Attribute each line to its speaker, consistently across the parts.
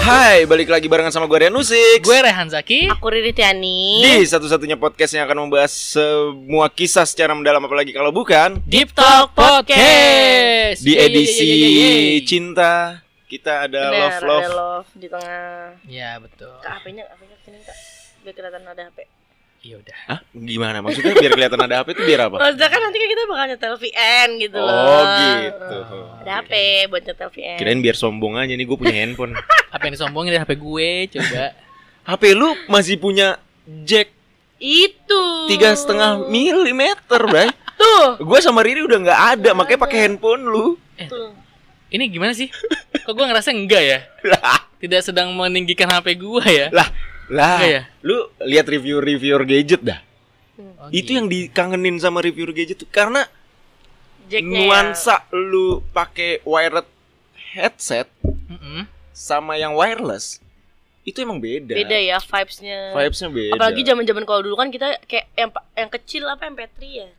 Speaker 1: Hai, balik lagi barengan sama gue Rian Usik
Speaker 2: Gue Rehan Zaki
Speaker 3: Aku Riri Tiani
Speaker 1: Di satu-satunya podcast yang akan membahas semua kisah secara mendalam Apalagi kalau bukan
Speaker 2: Deep Talk Podcast
Speaker 1: Di
Speaker 2: Yeay, yeay,
Speaker 1: edisi
Speaker 2: yeay, yeay, yeay.
Speaker 1: cinta Kita iya, ada
Speaker 3: Bener,
Speaker 1: love love
Speaker 3: ada love di tengah
Speaker 2: Ya betul
Speaker 3: Kak HP-nya, HP-nya kesini kak Biar kelihatan ada HP
Speaker 2: Iya udah
Speaker 1: Hah? Gimana? Maksudnya biar kelihatan ada HP itu biar apa?
Speaker 3: Maksudnya kan nanti kan kita bakal nyetel VN gitu loh
Speaker 1: Oh gitu
Speaker 3: Ada HP buat nyetel VN
Speaker 1: Kirain biar sombong aja nih gue punya handphone
Speaker 2: Apa yang disombongin dari HP gue coba
Speaker 1: HP lu masih punya jack
Speaker 3: Itu
Speaker 1: tiga setengah milimeter, Bray.
Speaker 3: Tuh
Speaker 1: Gue sama Riri udah nggak ada, makanya pakai handphone lu.
Speaker 3: Tuh
Speaker 2: Ini gimana sih? Kok gue ngerasa enggak ya?
Speaker 1: Lah,
Speaker 2: Tidak sedang meninggikan HP gue ya?
Speaker 1: lah, lah.
Speaker 2: Enggak ya?
Speaker 1: Lu lihat review-reviewer gadget dah.
Speaker 2: Oh,
Speaker 1: itu
Speaker 2: gitu.
Speaker 1: yang dikangenin sama reviewer gadget tuh karena
Speaker 3: Jacknya ya.
Speaker 1: nuansa lu pakai wired headset
Speaker 2: Oh, gitu. Mm-mm.
Speaker 1: sama yang wireless itu emang beda.
Speaker 3: Beda ya vibes-nya
Speaker 1: Vibesnya beda.
Speaker 3: Apalagi zaman-zaman kalau dulu kan kita kayak yang, yang kecil apa MP3 ya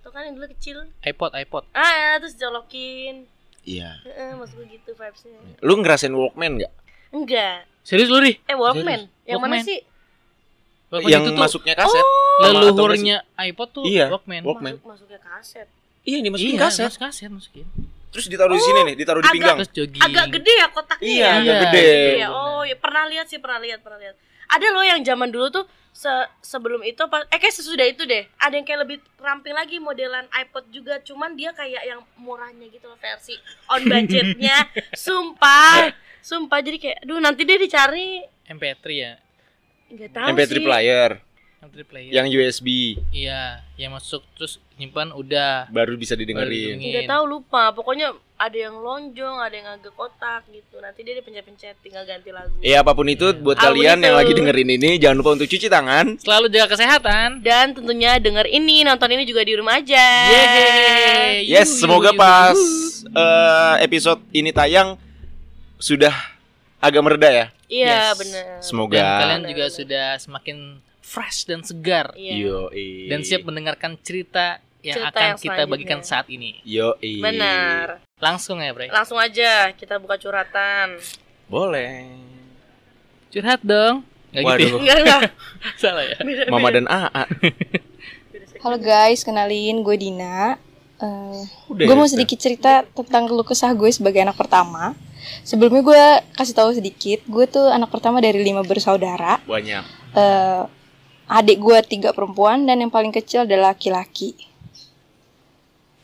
Speaker 3: Itu kan yang dulu kecil
Speaker 2: iPod, iPod
Speaker 3: Ah terus jolokin
Speaker 1: Iya.
Speaker 3: Heeh, Maksud gue gitu vibes-nya
Speaker 1: Lu ngerasain Walkman nggak?
Speaker 3: Enggak
Speaker 2: Serius lu Ri?
Speaker 3: Eh Walkman Yang mana
Speaker 2: Walkman.
Speaker 3: sih?
Speaker 2: Walkman
Speaker 1: Yang
Speaker 2: itu gitu tuh
Speaker 1: masuknya kaset. sama
Speaker 2: Leluhurnya iPod tuh
Speaker 1: Iya,
Speaker 2: Walkman
Speaker 1: Walkman.
Speaker 3: Masuk, masuknya kaset
Speaker 1: atau nggak sih? Iya, dimasukin
Speaker 2: Iya
Speaker 1: kaset.
Speaker 2: masuk kaset masukin
Speaker 1: Terus ditaruh di sini nih, ditaruh di
Speaker 3: agak-
Speaker 1: pinggang.
Speaker 2: Terus jogging
Speaker 3: agak gede ya kotaknya
Speaker 1: Iya,
Speaker 3: ya
Speaker 1: agak
Speaker 2: Iya,
Speaker 1: gede.
Speaker 2: gitu.
Speaker 3: Iya, oh ya pernah lihat sih pernah lihat pernah lihat ada loh yang zaman dulu tuh se- sebelum itu apa- eh kayak sesudah itu deh ada yang kayak lebih ramping lagi modelan iPod juga cuman dia kayak yang murahnya gitu loh versi on budgetnya sumpah sumpah jadi kayak aduh nanti dia dicari
Speaker 2: MP3 ya
Speaker 3: nggak tahu
Speaker 1: MP3
Speaker 3: sih
Speaker 1: player
Speaker 2: MP3 player
Speaker 1: yang USB
Speaker 2: Iya Yang masuk terus nyimpan udah
Speaker 1: baru bisa didengerin.
Speaker 2: Baru
Speaker 3: nggak tahu lupa pokoknya ada yang lonjong ada yang agak kotak gitu nanti dia dipencet-pencet tinggal ganti lagu
Speaker 1: Ya apapun itu buat
Speaker 3: Apapun
Speaker 1: kalian yang
Speaker 3: itu.
Speaker 1: lagi dengerin ini jangan lupa untuk cuci tangan.
Speaker 2: Selalu jaga kesehatan
Speaker 3: dan tentunya denger ini nonton ini juga di rumah aja
Speaker 1: Iya,
Speaker 2: Yeay
Speaker 1: Yes,
Speaker 2: Yuhu,
Speaker 1: semoga
Speaker 2: yuhu,
Speaker 1: pas
Speaker 2: yuhu.
Speaker 1: eh, episode ini tayang sudah agak mereda ya.
Speaker 3: Iya
Speaker 2: Yes.
Speaker 3: bener
Speaker 1: Semoga.
Speaker 2: Dan kalian juga
Speaker 3: Benar-benar.
Speaker 2: sudah semakin fresh dan segar
Speaker 3: Iya.
Speaker 1: Yo i.
Speaker 2: dan siap mendengarkan cerita yang
Speaker 3: Cerita
Speaker 2: akan
Speaker 3: yang
Speaker 2: kita bagikan
Speaker 3: selanjutnya.
Speaker 2: saat ini.
Speaker 1: Yo i.
Speaker 3: Benar.
Speaker 2: Langsung ya, Bray.
Speaker 3: Langsung aja kita buka curhatan.
Speaker 1: Boleh.
Speaker 2: Curhat dong. Gak gitu.
Speaker 1: Waduh.
Speaker 3: Enggak enggak.
Speaker 2: ya? Salah ya.
Speaker 3: Beda,
Speaker 1: Mama
Speaker 3: beda.
Speaker 1: dan Aa.
Speaker 3: Beda sekali.
Speaker 4: Halo guys, kenalin gue Dina. Eh,
Speaker 1: Udah.
Speaker 4: gue mau
Speaker 1: itu.
Speaker 4: sedikit cerita tentang keluh kesah gue sebagai anak pertama. Sebelumnya gue kasih tahu sedikit, gue tuh anak pertama dari lima bersaudara.
Speaker 1: banyak.
Speaker 4: Eh, adik gue tiga perempuan dan yang paling kecil adalah laki-laki.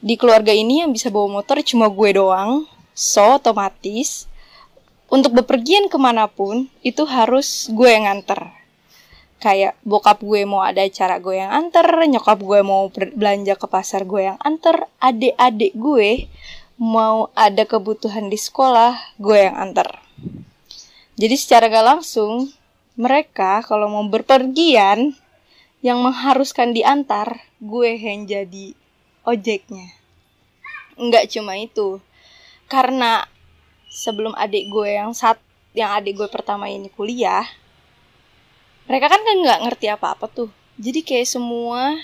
Speaker 4: Di keluarga ini yang bisa bawa motor cuma gue doang, so otomatis untuk bepergian kemanapun itu harus gue yang nganter. Kayak bokap gue mau ada acara gue yang anter, nyokap gue mau ber- belanja ke pasar gue yang anter, adik-adik gue mau ada kebutuhan di sekolah gue yang anter. Jadi secara gak langsung mereka kalau mau berpergian yang mengharuskan diantar, gue yang jadi ojeknya. Enggak cuma itu. Karena sebelum adik gue yang saat yang adik gue pertama ini kuliah, mereka kan kan nggak ngerti apa-apa tuh. Jadi kayak semua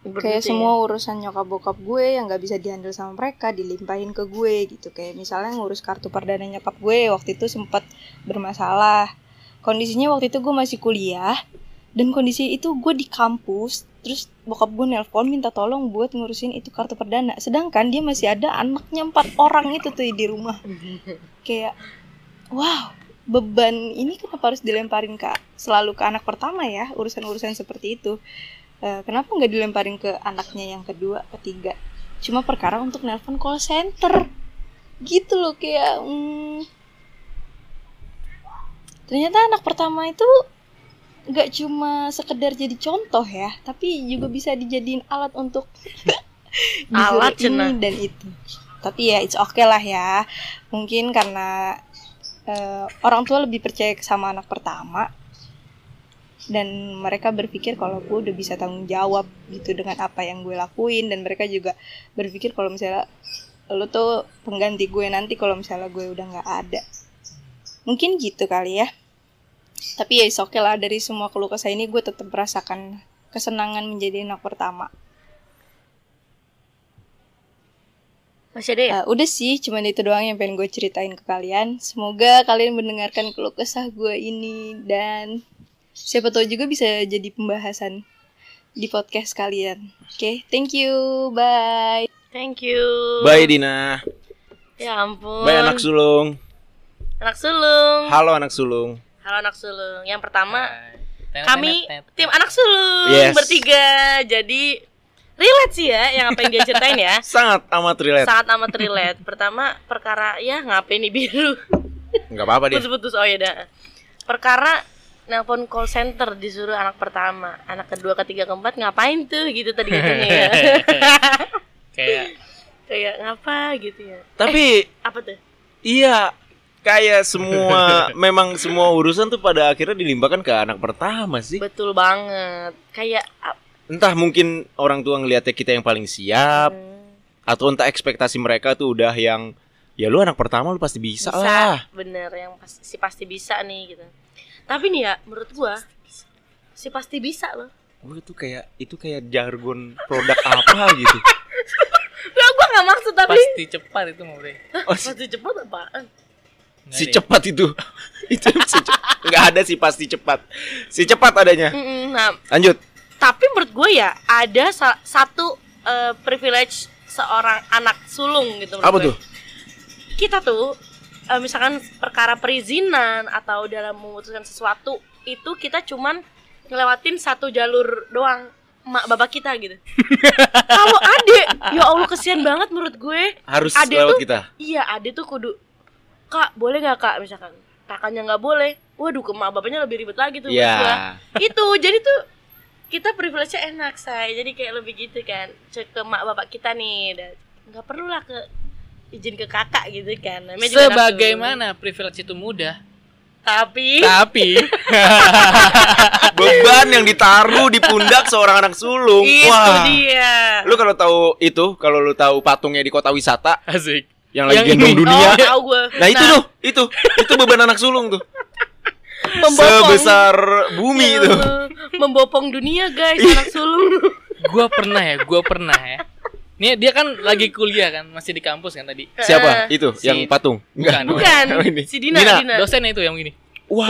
Speaker 3: Berdua
Speaker 4: kayak
Speaker 3: ya.
Speaker 4: semua urusan nyokap bokap gue yang nggak bisa dihandle sama mereka dilimpahin ke gue gitu kayak misalnya ngurus kartu perdana nyokap gue waktu itu sempat bermasalah kondisinya waktu itu gue masih kuliah dan kondisi itu gue di kampus terus bokap gue nelpon minta tolong buat ngurusin itu kartu perdana sedangkan dia masih ada anaknya empat orang itu tuh di rumah kayak wow beban ini kenapa harus dilemparin ke selalu ke anak pertama ya urusan-urusan seperti itu Eh, kenapa nggak dilemparin ke anaknya yang kedua ketiga cuma perkara untuk nelpon call center gitu loh kayak mm, ternyata anak pertama itu nggak cuma sekedar jadi contoh ya tapi juga bisa dijadiin alat untuk disuruh
Speaker 3: Alat, Cina.
Speaker 4: ini dan itu tapi ya it's okay lah ya mungkin karena eh, orang tua lebih percaya sama anak pertama dan mereka berpikir kalau gue udah bisa tanggung jawab gitu dengan apa yang gue lakuin dan mereka juga berpikir kalau misalnya lo tuh pengganti gue nanti kalau misalnya gue udah nggak ada mungkin gitu kali ya tapi ya it's okay lah dari semua keluh kesah ini gue tetap merasakan kesenangan menjadi anak pertama
Speaker 3: Masih ada ya?
Speaker 4: Eh, udah sih, cuman itu doang yang pengen gue ceritain ke kalian. Semoga kalian mendengarkan keluh kesah gue ini dan siapa tahu juga bisa jadi pembahasan di podcast kalian. Oke, thank you, bye.
Speaker 3: Thank you.
Speaker 1: Bye Dina.
Speaker 3: Ya ampun.
Speaker 1: Bye anak sulung.
Speaker 3: Anak sulung.
Speaker 1: Halo anak sulung.
Speaker 3: Halo anak sulung. Yang
Speaker 1: Ah,
Speaker 3: pertama
Speaker 2: Tenet,
Speaker 3: kami
Speaker 2: tenet, tenet.
Speaker 3: tim anak sulung
Speaker 1: Yes.
Speaker 3: bertiga. Jadi relate sih ya yang apa yang dia ceritain ya.
Speaker 1: Sangat amat relate.
Speaker 3: Sangat amat relate. Pertama perkara ya ngapain nih biru.
Speaker 1: Enggak apa-apa deh.
Speaker 2: Eh.
Speaker 3: Putus-putus oh ya dah. Perkara nelpon call center disuruh anak pertama, anak kedua, ketiga, keempat ngapain tuh gitu tadi katanya ya.
Speaker 2: kayak
Speaker 3: Kayak ngapa gitu ya.
Speaker 1: Tapi
Speaker 3: Apa tuh?
Speaker 1: iya kayak semua memang semua urusan tuh pada akhirnya dilimpahkan ke anak pertama sih.
Speaker 3: Betul banget. Kayak ap-
Speaker 1: Entah mungkin orang tua ngelihatnya kita yang paling siap
Speaker 3: hmm,
Speaker 1: atau entah ekspektasi mereka tuh udah yang ya lu anak pertama lu pasti bisa, lah.
Speaker 3: bener yang pasti, si pasti bisa nih gitu tapi nih ya menurut gua si pasti bisa loh
Speaker 1: Gue tuh kayak Oh, itu kayak jargon produk apa gitu.
Speaker 3: ya gua nggak maksud tapi
Speaker 2: pasti cepat itu mau bre
Speaker 1: Oh, si,
Speaker 3: pasti cepat apaan
Speaker 2: Nggak
Speaker 1: si
Speaker 2: ada ya?
Speaker 1: cepat itu. itu si cepat. Nggak ada sih pasti cepat. Si cepat adanya.
Speaker 3: Mm-mm, nah
Speaker 1: Lanjut.
Speaker 3: tapi menurut gua ya ada sa- satu eh, privilege seorang anak sulung gitu menurut
Speaker 1: Apa
Speaker 3: gue.
Speaker 1: tuh?
Speaker 3: kita tuh eh, misalkan perkara perizinan atau dalam memutuskan sesuatu itu kita cuman ngelewatin satu jalur doang emak bapak kita gitu kalau ade ya allah kesian banget menurut gue
Speaker 1: Harus
Speaker 3: Ada
Speaker 1: lewat
Speaker 3: tuh-
Speaker 1: kita.
Speaker 3: iya ade tuh kudu kak boleh nggak kak misalkan kakaknya nggak boleh waduh ke emak bapaknya lebih ribet lagi tuh menurut
Speaker 1: Iya.
Speaker 3: gua. itu Gitu, jadi tuh kita privilege-nya enak say jadi kayak lebih gitu kan cek ke mak bapak kita nih dan nggak perlulah ke izin ke kakak gitu kan Namanya juga anak sulung.
Speaker 2: sebagaimana privilege itu mudah
Speaker 3: tapi
Speaker 2: tapi
Speaker 1: Beban yang ditaruh di pundak seorang anak sulung.
Speaker 3: itu
Speaker 1: Wah.
Speaker 3: dia
Speaker 1: Lu kalau tahu itu, kalau lu tahu patungnya di kota wisata
Speaker 2: asik
Speaker 1: yang lagi
Speaker 2: Yang
Speaker 1: gendong
Speaker 2: ini.
Speaker 1: dunia.
Speaker 3: oh tahu gue
Speaker 1: Nah, itu tuh, itu. Itu beban anak sulung tuh.
Speaker 3: membopong
Speaker 1: Sebesar bumi
Speaker 3: Iya,
Speaker 1: itu.
Speaker 3: membopong dunia guys
Speaker 1: Iya.
Speaker 3: anak sulung
Speaker 2: gua pernah ya gua pernah ya Nih dia kan lagi kuliah kan, masih di kampus kan tadi.
Speaker 1: Siapa?
Speaker 3: Eh,
Speaker 1: Itu
Speaker 2: si-
Speaker 1: yang patung. Enggak.
Speaker 2: Bukan.
Speaker 3: bukan
Speaker 1: Oh, ini.
Speaker 3: si Dina
Speaker 1: Dina.
Speaker 3: Dina,
Speaker 2: Dosen itu yang gini.
Speaker 1: Wah.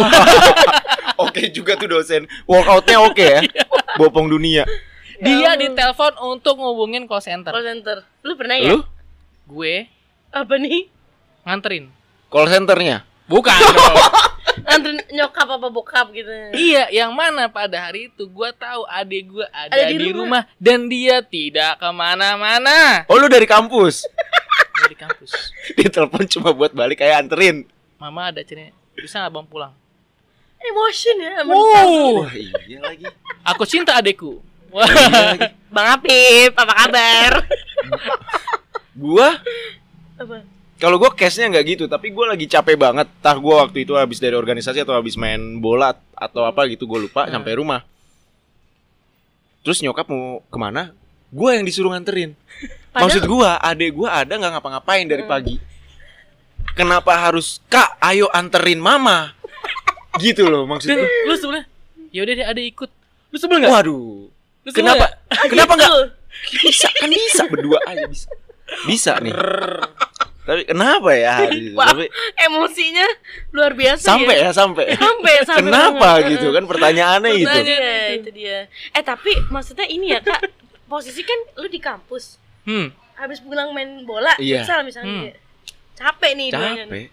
Speaker 1: oke juga tuh dosen. Workoutnya oke ya. Bopong dunia.
Speaker 2: Dia
Speaker 3: Allah.
Speaker 2: ditelepon untuk ngubungin call center.
Speaker 3: call center lu pernah ya
Speaker 1: Lu
Speaker 2: Gue
Speaker 3: apa nih
Speaker 2: nganterin.
Speaker 1: call centernya?
Speaker 2: Bukan. dong.
Speaker 3: antren nyokap apa bokap gitu
Speaker 2: iya, yang mana pada hari itu gua tahu adik gua ada,
Speaker 3: Ada di
Speaker 2: di, rumah. dan dia tidak kemana-mana
Speaker 1: Oh lu dari kampus.
Speaker 2: dari kampus.
Speaker 1: Ditelepon cuma buat balik kayak anterin.
Speaker 2: Mama ada cerita bisa nggak bang pulang?
Speaker 3: emotion ya sama
Speaker 2: Wow,
Speaker 1: Wah, iya lagi.
Speaker 2: aku cinta adekku. Wah,
Speaker 1: Iya lagi.
Speaker 3: Bang Apip, apa kabar?
Speaker 1: Gua
Speaker 3: apa?
Speaker 1: kalau gue cashnya nggak gitu tapi gue lagi capek banget tah gue waktu itu habis dari organisasi atau habis main bola atau apa gitu gue lupa
Speaker 2: Hmm.
Speaker 1: sampai rumah terus nyokap mau kemana gue yang disuruh nganterin
Speaker 3: Padahal-
Speaker 1: maksud gue adek gue ada nggak ngapa-ngapain dari
Speaker 2: Hmm.
Speaker 1: pagi kenapa harus kak ayo anterin mama gitu loh maksud
Speaker 2: dan
Speaker 1: gue
Speaker 2: lu sebelah. Ya udah deh adek ikut. Lu sebel nggak?
Speaker 1: waduh
Speaker 2: Lu ya? Gitu sebel
Speaker 1: kenapa
Speaker 2: nggak?
Speaker 1: kenapa nggak
Speaker 3: Tuh,
Speaker 1: bisa kan bisa berdua aja bisa bisa nih tapi kenapa ya
Speaker 3: Wah,
Speaker 1: tapi
Speaker 3: emosinya luar biasa
Speaker 1: sampai ya
Speaker 3: ya.
Speaker 1: sampai
Speaker 3: Sampai sampai
Speaker 1: Kenapa
Speaker 3: banget.
Speaker 1: gitu kan pertanyaannya itu.
Speaker 2: Pertanyaan-
Speaker 3: Iya, itu dia. Eh, tapi maksudnya ini ya, Kak. Posisi kan lu di kampus.
Speaker 2: Hmm.
Speaker 3: Habis pulang main bola,
Speaker 1: Iya.
Speaker 3: futsal misalnya.
Speaker 2: Hmm.
Speaker 3: ya. Capek nih duanya nih.
Speaker 1: Capek.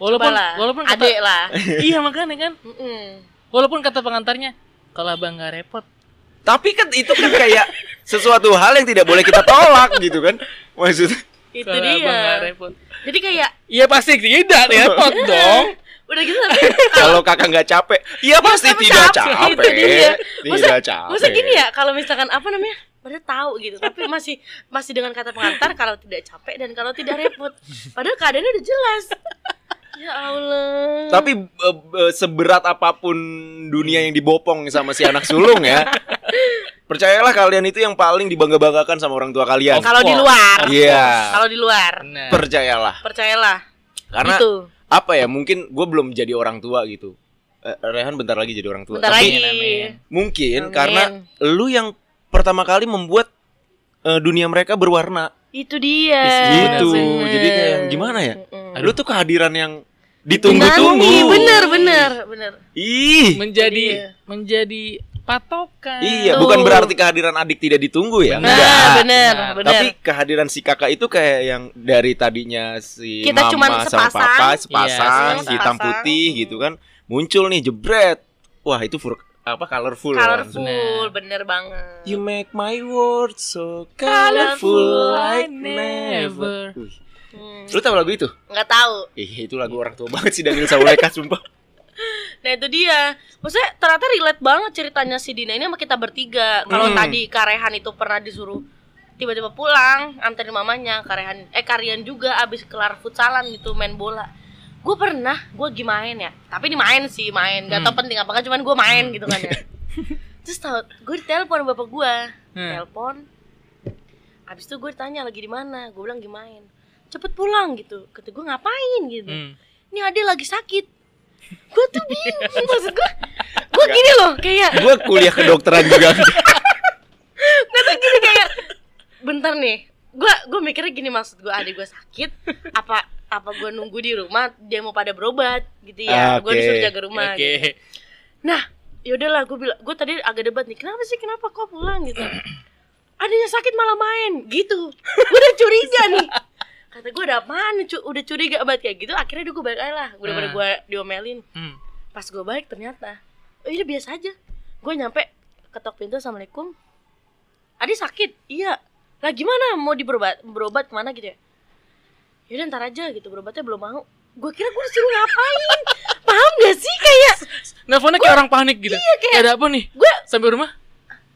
Speaker 2: Walaupun
Speaker 3: Coba lah,
Speaker 2: walaupun kata-
Speaker 3: adek lah.
Speaker 2: iya makanya kan.
Speaker 3: Mm-mm.
Speaker 2: Walaupun kata pengantarnya kalau abang nggak repot.
Speaker 1: Tapi kan itu kan kayak sesuatu hal yang tidak boleh kita tolak gitu kan. Maksudnya
Speaker 3: Itu
Speaker 2: kalau abang nggak
Speaker 3: dia.
Speaker 2: repot.
Speaker 3: Jadi kayak
Speaker 2: Iya pasti tidak repot dong.
Speaker 3: udah gitu tapi
Speaker 1: kalau kakak nggak capek, ya pasti
Speaker 3: Tapi
Speaker 1: tidak
Speaker 3: capek,
Speaker 1: capek.
Speaker 3: itu dia.
Speaker 1: Tidak
Speaker 3: Maksud-
Speaker 1: capek.
Speaker 3: Maksudnya gini ya, kalau misalkan apa namanya? Pada tahu gitu, tapi masih masih dengan kata pengantar kalau tidak capek dan kalau tidak repot. Padahal keadaannya udah jelas. Ya Allah.
Speaker 1: Tapi eh, eh, seberat apapun dunia yang dibopong sama si anak sulung ya. Percayalah kalian itu yang paling dibangga-banggakan sama orang tua kalian.
Speaker 3: kalau di luar,
Speaker 1: Iya.
Speaker 3: kalau di luar,
Speaker 2: Benar.
Speaker 1: Percayalah.
Speaker 3: percayalah. gitu.
Speaker 1: Karena
Speaker 3: itu
Speaker 1: apa ya? Mungkin gue belum jadi orang tua gitu. Eh, Rehan bentar lagi jadi orang tua.
Speaker 3: bentar
Speaker 1: Tapi
Speaker 3: lagi.
Speaker 2: amin.
Speaker 1: Mungkin
Speaker 3: Amin.
Speaker 1: karena lu yang pertama kali membuat eh, dunia mereka berwarna.
Speaker 3: Itu dia.
Speaker 1: gitu.
Speaker 3: bener.
Speaker 1: Jadi kayak yang gimana ya?
Speaker 4: Mm-mm.
Speaker 1: Lu tuh kehadiran yang ditunggu-tunggu.
Speaker 3: Menangi, iya, Bener, bener, bener.
Speaker 1: Ih.
Speaker 2: menjadi
Speaker 3: Iya.
Speaker 2: menjadi patokan.
Speaker 1: Iya,
Speaker 3: Tuh.
Speaker 1: bukan berarti kehadiran adik tidak ditunggu ya.
Speaker 2: Benar,
Speaker 1: Enggak.
Speaker 3: Nah, bener,
Speaker 2: Nah,
Speaker 3: bener.
Speaker 1: Tapi kehadiran si kakak itu kayak yang dari tadinya si
Speaker 3: Kita
Speaker 1: mama
Speaker 3: cuman
Speaker 1: sama
Speaker 3: sepasang.
Speaker 1: papa
Speaker 2: Iya,
Speaker 1: sepasang,
Speaker 2: sepasang.
Speaker 1: hitam putih
Speaker 3: Hmm.
Speaker 1: gitu kan, muncul nih jebret. Wah, itu fur, apa colorful. langsung.
Speaker 3: colorful, bener,
Speaker 2: Bener.
Speaker 3: banget.
Speaker 1: You make my world so
Speaker 3: Colorful,
Speaker 1: colorful
Speaker 2: I
Speaker 1: like
Speaker 2: never.
Speaker 1: never. Wih,
Speaker 3: Hmm.
Speaker 1: Lu tahu lagu itu?
Speaker 3: Nggak tahu.
Speaker 1: Ih, itu lagu orang tua banget sih Daniel Sauleka sumpah.
Speaker 3: Nah itu dia. Maksudnya ternyata relate banget ceritanya si Dina ini sama kita bertiga.
Speaker 1: Hmm.
Speaker 3: Kalau tadi Karehan itu pernah disuruh tiba-tiba pulang anterin mamanya Karehan eh Karian juga abis kelar futsalan gitu main bola. Gue pernah, gue gimain ya. Tapi ini main sih main, gak tau penting apa nggak, cuman gue main gitu kan ya. Terus tau, gue ditelepon bapak gue,
Speaker 2: Hmm.
Speaker 3: telepon. Abis itu gue ditanya lagi di mana, gue bilang gimain. Cepet pulang gitu, kata gue ngapain gitu
Speaker 2: Hmm.
Speaker 3: ini ade lagi sakit gue tuh bingung maksud gue gue gini loh kayak
Speaker 1: Gua kuliah kedokteran juga.
Speaker 3: gue tuh gini kayak bentar nih gue gue mikirnya gini maksud gue ade gue sakit apa apa gue nunggu di rumah dia mau pada berobat gitu ya gue
Speaker 1: Oke.
Speaker 3: disuruh jaga rumah
Speaker 2: Oke.
Speaker 3: gitu. nah yaudahlah gue bilang gue tadi agak debat nih kenapa sih kenapa kok pulang gitu adanya sakit malah main gitu gue udah curiga nih kata gue udah apaan cu- udah curiga banget kayak gitu akhirnya udah gue balik aja lah gue udah pada
Speaker 2: Nah.
Speaker 3: gue diomelin
Speaker 2: Hmm.
Speaker 3: pas gue balik ternyata oh, ini biasa aja gue nyampe ketok pintu assalamualaikum adi sakit iya lah gimana mau diberobat berobat kemana gitu ya yaudah ntar aja gitu berobatnya belum mau gue kira gue disuruh ngapain paham gak sih kayak
Speaker 2: Nelfonnya kayak orang panik gitu.
Speaker 3: iya, kayak-
Speaker 2: Ada apa nih?
Speaker 3: gue
Speaker 2: Sampai rumah.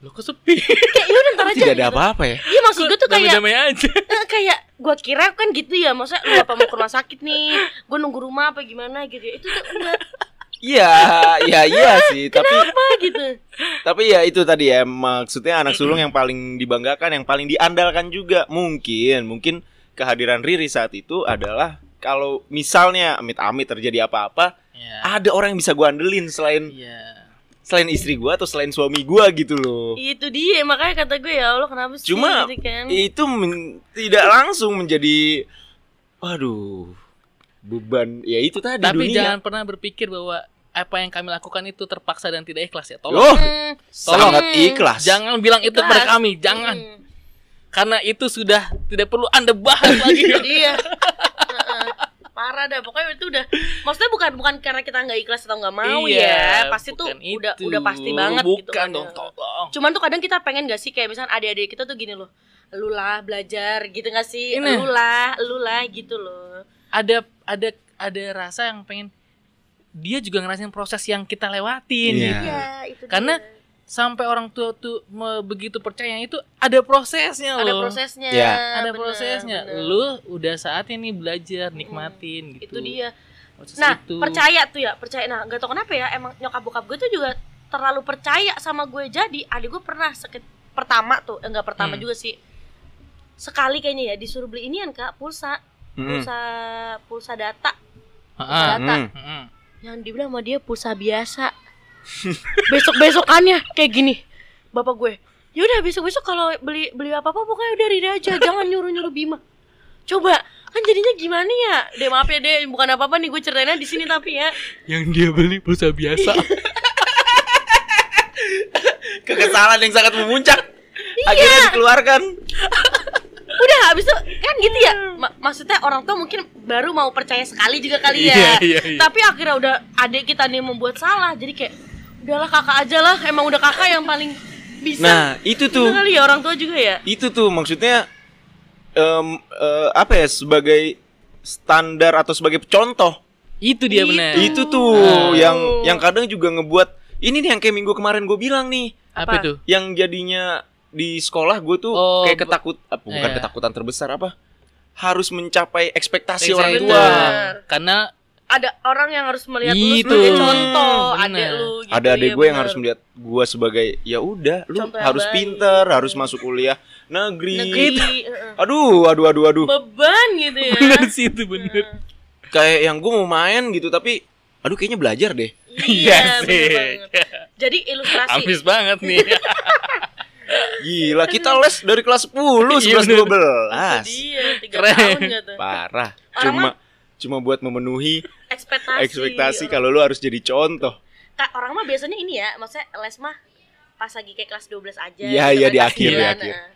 Speaker 2: Lo kok sepi?
Speaker 3: kayak yaudah ntar aja
Speaker 1: Tidak ada
Speaker 3: gitu.
Speaker 1: apa-apa ya.
Speaker 3: iya maksud gue tuh kayak
Speaker 2: damai aja.
Speaker 3: eh, kayak gue kira kan gitu ya maksudnya lu apa mau ke rumah sakit nih gue nunggu rumah apa gimana gitu ya itu tuh enggak
Speaker 1: Iya, iya iya sih, tapi
Speaker 3: apa gitu
Speaker 1: Tapi ya itu tadi ya maksudnya anak sulung yang paling dibanggakan, yang paling diandalkan juga mungkin mungkin kehadiran Riri saat itu adalah kalau misalnya amit-amit terjadi apa-apa,
Speaker 2: Iya.
Speaker 1: ada orang yang bisa gua andelin selain
Speaker 2: Iya.
Speaker 1: selain istri gua atau selain suami gua gitu loh.
Speaker 3: itu dia makanya kata gue ya allah kenapa sih
Speaker 1: Cuma
Speaker 3: gitu kan.
Speaker 2: Mm.
Speaker 1: itu men- tidak langsung menjadi waduh beban ya itu tadi
Speaker 2: Tapi
Speaker 1: dunia.
Speaker 2: jangan pernah berpikir bahwa apa yang kami lakukan itu terpaksa dan tidak ikhlas ya. Tolong. Mm.
Speaker 1: Loh,
Speaker 3: Hmm.
Speaker 1: sangat
Speaker 3: Hmm.
Speaker 1: ikhlas.
Speaker 2: Jangan bilang itu
Speaker 3: Ikhlas.
Speaker 2: kepada kami, jangan.
Speaker 3: Hmm.
Speaker 2: Karena itu sudah tidak perlu Anda bahas lagi.
Speaker 3: Iya. Heeh. Parah dah pokoknya itu udah maksudnya bukan bukan karena kita nggak ikhlas atau nggak mau ya pasti tuh
Speaker 2: Iya, bukan
Speaker 3: udah
Speaker 2: itu.
Speaker 3: udah pasti banget
Speaker 2: bukan
Speaker 3: gitu kan.
Speaker 2: dong tolong
Speaker 3: cuman tuh kadang kita pengen gak sih kayak misalnya adik-adik kita tuh gini loh lu lah belajar gitu gak sih
Speaker 2: Ini.
Speaker 3: lu lah lu lah gitu loh
Speaker 2: ada ada ada rasa yang pengen dia juga ngerasain proses yang kita
Speaker 1: Iya.
Speaker 2: lewatin gitu.
Speaker 3: iya itu
Speaker 2: Karena
Speaker 3: dia.
Speaker 2: sampai orang tua tuh me- begitu percaya itu ada prosesnya
Speaker 3: ada
Speaker 2: loh
Speaker 3: prosesnya
Speaker 1: Iya.
Speaker 2: ada
Speaker 3: bener,
Speaker 2: prosesnya
Speaker 3: bener.
Speaker 2: lu udah saatnya nih belajar nikmatin gitu
Speaker 3: Hmm, itu dia
Speaker 2: Proses
Speaker 3: nah
Speaker 2: itu.
Speaker 3: percaya tuh ya percaya nah gak tau kenapa ya emang nyokap bokap gue tuh juga terlalu percaya sama gue jadi adik gue pernah sakit pertama tuh enggak pertama
Speaker 2: Hmm.
Speaker 3: juga sih sekali kayaknya ya disuruh beli inian kak pulsa
Speaker 1: Mm-mm.
Speaker 3: pulsa pulsa data pulsa
Speaker 2: Heeh.
Speaker 3: data
Speaker 1: Mm.
Speaker 2: Heeh.
Speaker 3: yang dibilang sama dia pulsa biasa besok besokannya kayak gini bapak gue yaudah besok besok kalau beli beli apa apa pokoknya udah Riri aja jangan nyuruh nyuruh Bima coba kan jadinya gimana ya deh maaf ya deh bukan apa apa nih gue ceritainnya di sini tapi ya
Speaker 2: yang dia beli pulsa biasa
Speaker 1: Kekesalan yang sangat memuncak.
Speaker 2: Iya.
Speaker 1: Akhirnya dikeluarkan.
Speaker 3: udah habis itu kan gitu ya
Speaker 2: Hmm.
Speaker 3: Ma- maksudnya orang tua mungkin baru mau percaya sekali juga kali ya
Speaker 2: Iya, iya, iya.
Speaker 3: tapi akhirnya udah adik kita nih membuat salah jadi kayak udahlah kakak aja lah emang udah kakak yang paling bisa
Speaker 1: Nah, itu
Speaker 3: Itu
Speaker 1: tuh.
Speaker 3: kali ya orang tua juga ya
Speaker 1: itu tuh maksudnya em, eh, apa ya sebagai standar atau sebagai contoh
Speaker 2: itu dia benar
Speaker 1: itu tuh
Speaker 2: Ah.
Speaker 1: yang yang kadang juga ngebuat ini nih yang kayak minggu kemarin gue bilang nih
Speaker 2: apa
Speaker 3: Apa?
Speaker 2: itu
Speaker 1: yang jadinya di sekolah gue tuh
Speaker 2: Oh,
Speaker 1: kayak
Speaker 2: bu-
Speaker 1: ketakut apa, bukan
Speaker 2: Iya.
Speaker 1: ketakutan terbesar apa harus mencapai ekspektasi
Speaker 2: Saya
Speaker 1: orang
Speaker 2: itu.
Speaker 1: tua
Speaker 3: Benar.
Speaker 2: karena
Speaker 3: ada orang yang harus melihat lu
Speaker 2: Itu.
Speaker 3: sebagai contoh
Speaker 2: Bener.
Speaker 3: adek lu gitu
Speaker 1: ada adik
Speaker 3: ya,
Speaker 1: gue yang
Speaker 3: bener.
Speaker 1: harus melihat gue sebagai ya udah lu
Speaker 3: Contoh yang
Speaker 1: harus
Speaker 3: baik."
Speaker 1: pinter harus masuk kuliah negeri,
Speaker 3: negeri heeh.
Speaker 1: aduh aduh aduh aduh
Speaker 3: beban gitu ya
Speaker 2: benar sih itu benar
Speaker 1: kayak yang gue mau main gitu tapi aduh kayaknya belajar deh
Speaker 3: iya bener
Speaker 2: sih.
Speaker 3: banget. jadi ilustrasi
Speaker 2: habis banget nih
Speaker 1: Gila, kita les dari kelas 10, 11
Speaker 2: Iya,
Speaker 1: 12.
Speaker 3: Dia tiga
Speaker 2: Keren.
Speaker 3: tahun gitu.
Speaker 1: Parah.
Speaker 3: Orang
Speaker 1: Cuma cuma buat memenuhi
Speaker 3: Ekspektasi.
Speaker 1: ekspektasi
Speaker 3: orang,
Speaker 1: kalau lu harus jadi contoh.
Speaker 3: Ka- orang mah biasanya ini ya, maksudnya les mah pas lagi kayak kelas 12
Speaker 1: Iya,
Speaker 3: aja. gitu
Speaker 1: iya,
Speaker 3: kan,
Speaker 1: di
Speaker 3: kelas
Speaker 1: akhir, di
Speaker 3: sembilan,
Speaker 1: akhir.
Speaker 3: nah.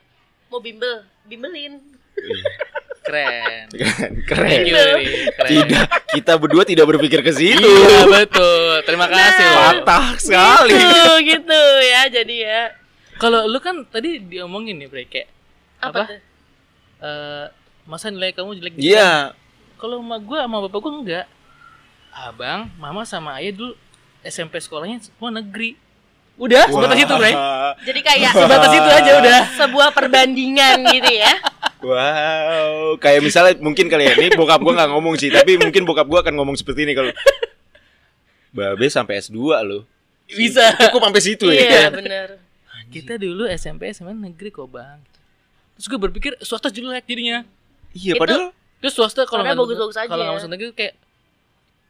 Speaker 3: Mau bimbel, bimbelin.
Speaker 2: Keren.
Speaker 1: Keren.
Speaker 2: Thank
Speaker 1: Kan, Keren.
Speaker 2: you, Riri. Keren.
Speaker 1: Tidak, kita berdua tidak berpikir ke
Speaker 2: Iya,
Speaker 1: situ.
Speaker 2: betul. Terima kasih
Speaker 3: Nah.
Speaker 2: loh.
Speaker 1: Patah sekali.
Speaker 3: Gitu, gitu ya, jadi ya.
Speaker 2: Kalau lu kan tadi diomongin nih, Bre, kayak
Speaker 3: Apa,
Speaker 2: apa?
Speaker 3: tuh?
Speaker 2: eh, masa nilai kamu jelek gitu?
Speaker 1: Iya,
Speaker 2: Kalau sama gua sama bapak gua enggak. Abang, mama sama ayah dulu SMP sekolahnya semua negeri. Udah, sebatas itu, Bre.
Speaker 1: Wah.
Speaker 3: Jadi kayak
Speaker 2: Sebatas itu aja udah.
Speaker 3: sebuah perbandingan gitu ya.
Speaker 1: Wow, kayak misalnya mungkin kali ya, ini bokap gua nggak ngomong sih, tapi mungkin bokap gua akan ngomong seperti ini kalau Babe sampai S2 loh.
Speaker 2: Bisa.
Speaker 1: Cukup sampai situ ya.
Speaker 3: Iya, bener
Speaker 2: Kita dulu SMP SMA negeri kok, Bang. Terus gue berpikir swasta jelek jadinya.
Speaker 1: Iya,
Speaker 3: Itu-
Speaker 1: padahal
Speaker 2: Terus swasta kalau
Speaker 3: Soalnya
Speaker 2: nggak-
Speaker 3: bagus-bagus aja.
Speaker 2: Kalau nggak masuk negeri kayak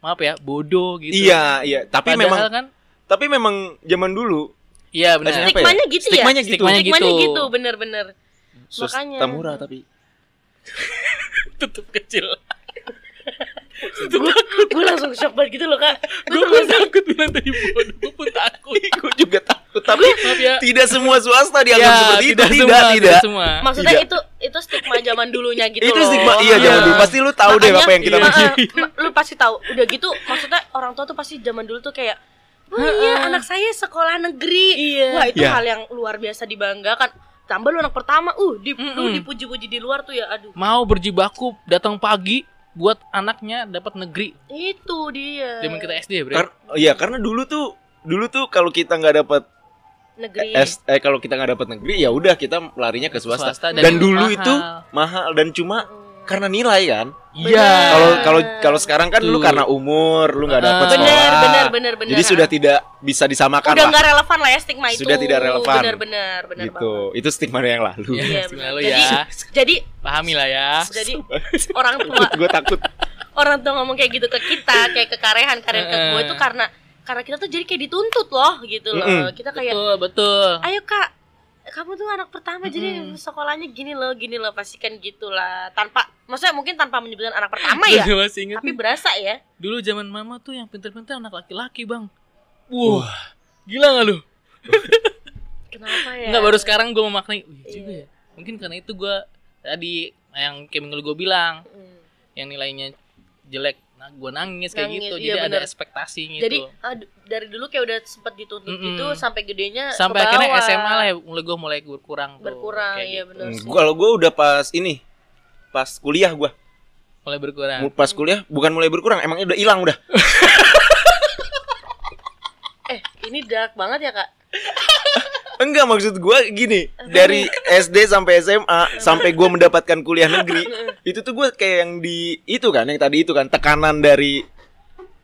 Speaker 2: maaf ya, bodoh gitu.
Speaker 1: Iya, iya, tapi
Speaker 2: Padahal
Speaker 1: memang
Speaker 2: kan
Speaker 1: tapi memang zaman dulu
Speaker 2: Iya,
Speaker 1: Apa
Speaker 2: benar.
Speaker 1: ya?
Speaker 3: Stigmanya gitu ya.
Speaker 1: Stigmanya gitu.
Speaker 2: Stigmanya
Speaker 3: Stigmanya
Speaker 2: gitu.
Speaker 3: gitu, bener-bener.
Speaker 1: sus
Speaker 3: Makanya.
Speaker 1: tamura tapi
Speaker 2: Tutup kecil.
Speaker 3: gue langsung shock banget gitu loh kak
Speaker 2: gue pun takut bilang tadi bodoh, gue pun takut.
Speaker 1: gue juga takut tapi
Speaker 2: Maaf ya.
Speaker 1: tidak semua swasta dianggap
Speaker 2: Ya,
Speaker 1: seperti itu. Tidak,
Speaker 2: semua,
Speaker 1: tidak.
Speaker 2: tidak semua.
Speaker 3: maksudnya
Speaker 1: Tidak.
Speaker 3: itu itu stigma zaman dulunya gitu
Speaker 1: Iya. itu
Speaker 3: loh.
Speaker 1: stigma iya
Speaker 2: Iya.
Speaker 1: zaman dulu. Pasti lu tahu deh
Speaker 3: Makanya,
Speaker 1: apa yang kita
Speaker 2: iya.
Speaker 1: maksud.
Speaker 3: Heeh, ma- lu pasti tahu udah gitu maksudnya orang tua tuh pasti zaman dulu tuh kayak wah iya anak saya sekolah negeri
Speaker 2: Iya.
Speaker 3: wah itu
Speaker 1: Iya.
Speaker 3: hal yang luar biasa dibanggakan tambah lu anak pertama uh di, lu
Speaker 2: Mm-mm.
Speaker 3: dipuji-puji di luar tuh ya aduh
Speaker 2: Mau berjibaku datang pagi buat anaknya dapat negeri.
Speaker 3: itu dia
Speaker 2: Zaman kita SD ya, Bre.
Speaker 1: Kar- Iya, karena dulu tuh dulu tuh kalau kita nggak dapat
Speaker 3: negeri
Speaker 1: S- eh kalau kita nggak dapat negeri ya udah kita larinya ke swasta.
Speaker 2: Swasta dan
Speaker 1: dan, dulu
Speaker 2: mahal.
Speaker 1: itu mahal dan cuma
Speaker 3: Oh.
Speaker 1: karena nilai kan.
Speaker 2: Iya.
Speaker 1: Kalau kalau kalau sekarang kan lu
Speaker 2: Betul.
Speaker 1: karena umur lu nggak dapat
Speaker 2: Ah.
Speaker 1: sekolah.
Speaker 3: bener bener bener bener
Speaker 1: Jadi sudah tidak bisa disamakan
Speaker 3: udah
Speaker 1: lah.
Speaker 3: nggak relevan lah ya stigma itu
Speaker 1: Sudah tidak relevan.
Speaker 3: bener bener bener
Speaker 1: Gitu. Itu stigma yang lalu.
Speaker 2: Iya,
Speaker 3: Iya,
Speaker 2: stigma
Speaker 3: benar.
Speaker 2: lu
Speaker 3: Jadi-
Speaker 2: ya.
Speaker 3: banget. jadi
Speaker 2: Pahami lah ya.
Speaker 1: Ah.
Speaker 3: jadi orang tua
Speaker 1: gue takut.
Speaker 3: orang tua ngomong kayak gitu ke kita kayak ke karehan karehan ke gue itu karena karena kita tuh jadi kayak dituntut loh gitu loh
Speaker 1: Mm-mm.
Speaker 3: kita kayak
Speaker 2: Betul, betul.
Speaker 3: ayo kak kamu tuh anak pertama jadi sekolahnya gini loh gini loh pastikan gitulah tanpa maksudnya mungkin tanpa menyebutkan anak pertama ya
Speaker 2: Gua masih inget
Speaker 3: tapi berasa ya
Speaker 2: dulu zaman mama tuh yang pinter-pinter anak laki-laki, Bang. Wah. Gila gak lu?
Speaker 3: kenapa ya
Speaker 2: Enggak baru sekarang gue memaknai. Wih,
Speaker 3: Iya.
Speaker 2: juga ya. Mungkin karena itu gue tadi yang kayak minggu gue bilang
Speaker 3: Hmm.
Speaker 2: yang nilainya jelek, nah gue nangis kayak
Speaker 3: Nangis,
Speaker 2: gitu.
Speaker 3: iya,
Speaker 2: Jadi ada
Speaker 3: bener.
Speaker 2: ekspektasi gitu.
Speaker 3: jadi aduh, dari dulu kayak udah sempet dituntut
Speaker 2: Mm-mm.
Speaker 3: gitu sampai gedenya
Speaker 2: sampai
Speaker 3: ke
Speaker 2: akhirnya
Speaker 3: bawah.
Speaker 2: SMA lah ya mulai gue mulai berkurang tuh,
Speaker 3: berkurang
Speaker 2: kayak
Speaker 3: ya
Speaker 2: gitu.
Speaker 3: benar sih.
Speaker 1: Hmm, Kalau gue udah pas ini pas kuliah gue
Speaker 2: mulai berkurang
Speaker 1: Mu- pas kuliah bukan mulai berkurang emang udah hilang udah
Speaker 3: eh ini dark banget ya kak
Speaker 1: enggak maksud gue gini dari SD sampai SMA sampai gue mendapatkan kuliah negeri itu tuh gue kayak yang di itu kan yang tadi itu kan tekanan dari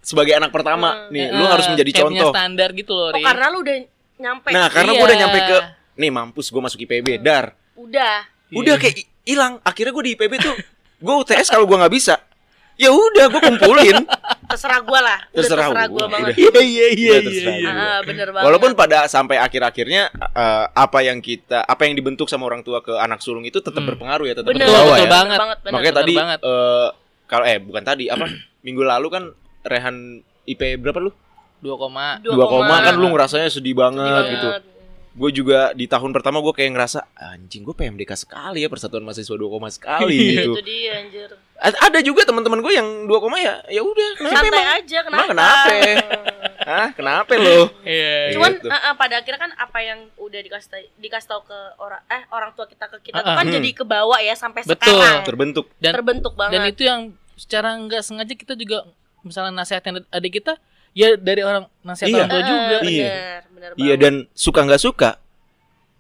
Speaker 1: sebagai anak pertama nih lu
Speaker 2: Eh,
Speaker 1: harus menjadi
Speaker 2: kayak punya
Speaker 1: contoh
Speaker 2: standar gitu loh
Speaker 3: oh
Speaker 2: Ri.
Speaker 3: karena lu udah nyampe
Speaker 1: nah karena gue udah
Speaker 2: Iya.
Speaker 1: nyampe ke nih mampus gue masuk IPB dar
Speaker 3: udah
Speaker 1: udah
Speaker 2: Iya.
Speaker 1: kayak i- hilang akhirnya gue di IPB tuh gue UTS kalau gue nggak bisa ya udah gue kumpulin
Speaker 3: terserah gua lah Udah
Speaker 1: terserah
Speaker 3: terserah
Speaker 1: gue
Speaker 3: gua banget
Speaker 1: iya iya iya
Speaker 3: Ah, bener banget
Speaker 1: Walaupun pada sampai akhir-akhirnya eh, apa yang kita apa yang dibentuk sama orang tua ke anak sulung itu tetap
Speaker 2: Hmm.
Speaker 1: berpengaruh ya tetap
Speaker 3: bener
Speaker 2: Betul,
Speaker 1: terbawa
Speaker 2: betul
Speaker 1: ya.
Speaker 2: banget.
Speaker 3: bener.
Speaker 1: Makanya
Speaker 2: bener
Speaker 1: tadi
Speaker 2: banget.
Speaker 1: eh, kalau eh bukan tadi apa minggu lalu kan Rehan IP berapa lu?
Speaker 2: dua koma
Speaker 3: Dua
Speaker 1: 2 koma
Speaker 3: koma. Iya.
Speaker 1: kan lu ngerasanya sedih banget
Speaker 3: Sedih banget.
Speaker 1: gitu. Gue juga di tahun pertama gue kayak ngerasa anjing gue PMDK sekali ya Persatuan Mahasiswa 2 koma sekali
Speaker 3: Itu
Speaker 1: gitu.
Speaker 3: dia anjir.
Speaker 1: A- Ada juga teman-teman gue yang 2 koma ya ya udah kenapa
Speaker 3: Santai
Speaker 1: emang?
Speaker 3: aja kenapa?
Speaker 1: Emang kenapa? Hah, kenapa lo?
Speaker 2: Iya, iya.
Speaker 3: Cuman
Speaker 1: Gitu.
Speaker 3: eh, eh, pada akhirnya kan apa yang udah dikasih ta- dikasih tahu ke orang eh orang tua kita ke kita tuh
Speaker 2: Ah,
Speaker 3: kan
Speaker 1: ah.
Speaker 3: jadi kebawa ya sampai
Speaker 2: Betul.
Speaker 3: sekarang.
Speaker 1: Terbentuk.
Speaker 2: dan
Speaker 3: Terbentuk
Speaker 2: dan
Speaker 3: banget.
Speaker 2: itu yang secara nggak sengaja kita juga misalnya nasihatin adik kita ya dari orang nasihat
Speaker 1: Iya.
Speaker 2: orang tua
Speaker 3: Eh,
Speaker 2: juga
Speaker 1: Iya.
Speaker 3: Bener, bener
Speaker 1: Iya
Speaker 3: banget.
Speaker 1: dan suka nggak suka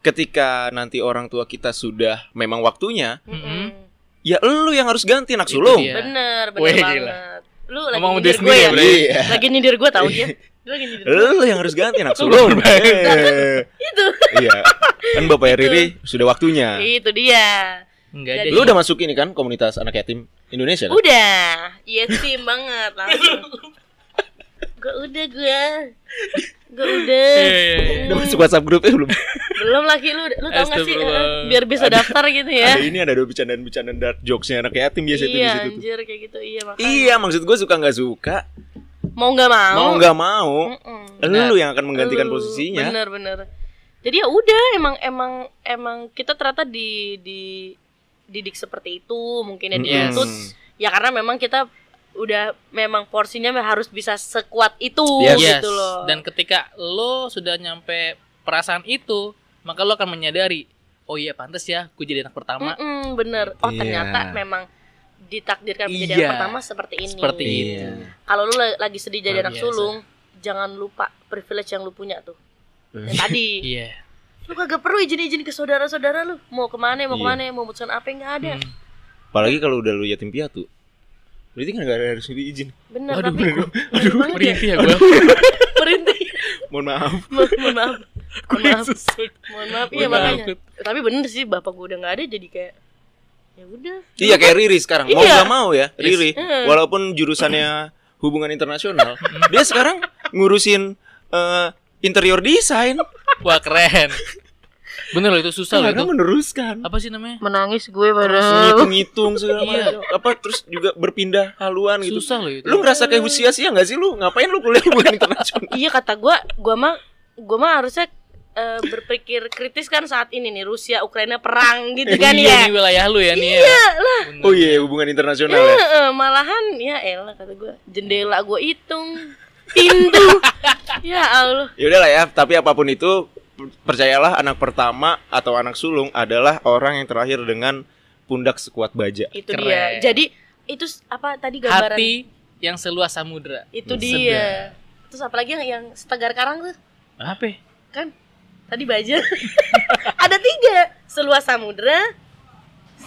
Speaker 1: ketika nanti orang tua kita sudah memang waktunya
Speaker 3: Mm-mm.
Speaker 1: ya lu yang harus ganti anak
Speaker 2: Itu
Speaker 1: sulung.
Speaker 2: dia.
Speaker 3: Bener, bener
Speaker 2: Weh,
Speaker 3: banget.
Speaker 2: gila.
Speaker 3: Lu lagi
Speaker 2: Ngomong sama
Speaker 3: nyindir
Speaker 2: diri
Speaker 3: gue
Speaker 2: sendiri
Speaker 3: ya?
Speaker 2: ya, Bre.
Speaker 1: Iya.
Speaker 3: Lagi nyindir gue tau dia. Lu lagi nyindir gue.
Speaker 1: Lu yang harus ganti anak sulung. Eh.
Speaker 3: Itu.
Speaker 1: Iya. Kan bapaknya Riri sudah waktunya.
Speaker 3: Itu dia.
Speaker 2: enggak
Speaker 3: Jadi-
Speaker 2: ada
Speaker 1: Lu udah masuk ini kan komunitas anak yatim Indonesia kan?
Speaker 3: Iya Udah, iya tim banget langsung. gue udah gue. Gak udah.
Speaker 2: Iya,
Speaker 3: Hmm.
Speaker 2: iya, iya.
Speaker 1: Udah masuk WhatsApp grupnya belum?
Speaker 3: Belum lagi lu, lu tau gak sih
Speaker 2: Astagfirullah.
Speaker 3: eh, biar bisa
Speaker 1: Ada-
Speaker 3: daftar gitu
Speaker 1: Ada
Speaker 3: ya?
Speaker 1: ini ada dua bercandaan-bercandaan dark jokesnya anak yatim biasa tuh di
Speaker 3: iya,
Speaker 1: situ tuh.
Speaker 3: anjir kayak gitu. Iya, makanya.
Speaker 1: Iya, maksud gue suka nggak suka,
Speaker 3: Mau nggak mau?
Speaker 1: mau nggak mau,
Speaker 3: Mm-mm.
Speaker 1: lu yang akan menggantikan
Speaker 3: Lu,
Speaker 1: posisinya.
Speaker 3: Bener bener. Jadi ya udah emang emang emang kita ternyata di di didik seperti itu mungkin ya
Speaker 1: Mm-mm.
Speaker 3: dituntut ya karena memang kita udah memang porsinya harus bisa sekuat itu
Speaker 1: Yes.
Speaker 2: Yes.
Speaker 3: gitu loh.
Speaker 2: Dan ketika lo sudah nyampe perasaan itu, maka lo akan menyadari, oh iya pantas ya, gue jadi anak pertama.
Speaker 3: Mm-mm, bener. Oh
Speaker 1: Iya.
Speaker 3: ternyata memang ditakdirkan menjadi
Speaker 2: Iya.
Speaker 3: anak pertama seperti ini.
Speaker 2: Seperti itu.
Speaker 1: Iya.
Speaker 3: Kalau lu la- lagi sedih jadi
Speaker 2: Luar
Speaker 3: anak
Speaker 2: biasa.
Speaker 3: sulung, jangan lupa privilege yang lu punya tuh. Yang tadi.
Speaker 2: Iya.
Speaker 3: lu kagak perlu izin-izin ke saudara-saudara lu. Mau kemana,
Speaker 1: Iya.
Speaker 3: mau kemana, mau memutuskan apa nggak ada.
Speaker 2: Hmm.
Speaker 1: Apalagi kalau udah lu yatim piatu. Berarti kan nggak ada harus diberi izin.
Speaker 3: Bener,
Speaker 2: Waduh,
Speaker 3: tapi
Speaker 2: bener.
Speaker 3: bener banget ya.
Speaker 2: Merintih ya gue.
Speaker 3: Perintih.
Speaker 1: Mohon maaf.
Speaker 3: Mo- Mohon maaf. Mohon maaf.
Speaker 2: Susut.
Speaker 3: Mohon maaf. Iya
Speaker 2: Mohon
Speaker 3: makanya.
Speaker 2: maaf.
Speaker 3: Tapi bener sih bapak gue udah nggak ada jadi kayak ya udah.
Speaker 1: Iya kayak Riri sekarang mau
Speaker 3: Iya.
Speaker 1: nggak mau ya Riri
Speaker 2: Mm.
Speaker 3: Yes.
Speaker 1: walaupun jurusannya hubungan internasional dia sekarang ngurusin eh, interior desain
Speaker 2: Wah keren. Bener loh itu susah loh
Speaker 3: Iya,
Speaker 1: karena
Speaker 2: itu.
Speaker 1: meneruskan
Speaker 2: Apa sih namanya?
Speaker 3: Menangis gue
Speaker 1: terus
Speaker 2: gitu.
Speaker 1: ngitung-ngitung segala
Speaker 2: Iya.
Speaker 1: macam apa terus juga berpindah haluan gitu
Speaker 2: Susah loh itu.
Speaker 1: lu ngerasa kayak sia-sia nggak sih lu ngapain lu kuliah hubungan internasional
Speaker 3: Iya kata gue, gue mah gue mah harusnya eh, berpikir kritis kan saat ini nih Rusia Ukraina perang gitu kan
Speaker 2: Iya,
Speaker 3: ya.
Speaker 2: Ini wilayah lu ya nih. Iya lah.
Speaker 1: oh iya hubungan internasional ya
Speaker 3: Heeh, malahan ya elah kata gue jendela gue hitung pintu ya Allah
Speaker 1: ya udahlah ya tapi apapun itu percayalah anak pertama atau anak sulung adalah orang yang terakhir dengan pundak sekuat baja
Speaker 3: itu
Speaker 2: Keren.
Speaker 3: dia jadi itu s- apa tadi gambaran
Speaker 2: Hati yang seluas samudra.
Speaker 3: itu
Speaker 1: Sedap.
Speaker 3: dia terus apalagi yang yang setegar karang tuh
Speaker 2: Apa?
Speaker 3: kan tadi baja ada tiga seluas samudra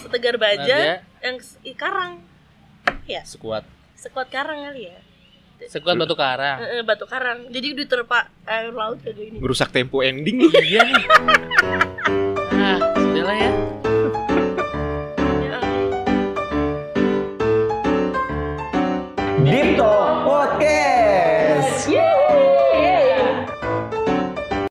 Speaker 3: setegar baja
Speaker 2: Baja.
Speaker 3: yang s- i- karang ya
Speaker 1: sekuat
Speaker 3: sekuat karang kali ya
Speaker 2: Sekuat batu karang.
Speaker 3: Eh, eh, batu karang jadi diterpa air laut kayak gini
Speaker 1: merusak tempo ending
Speaker 2: Iya nih. Nah, sudahlah ya.
Speaker 3: Ya.
Speaker 1: Deep Talk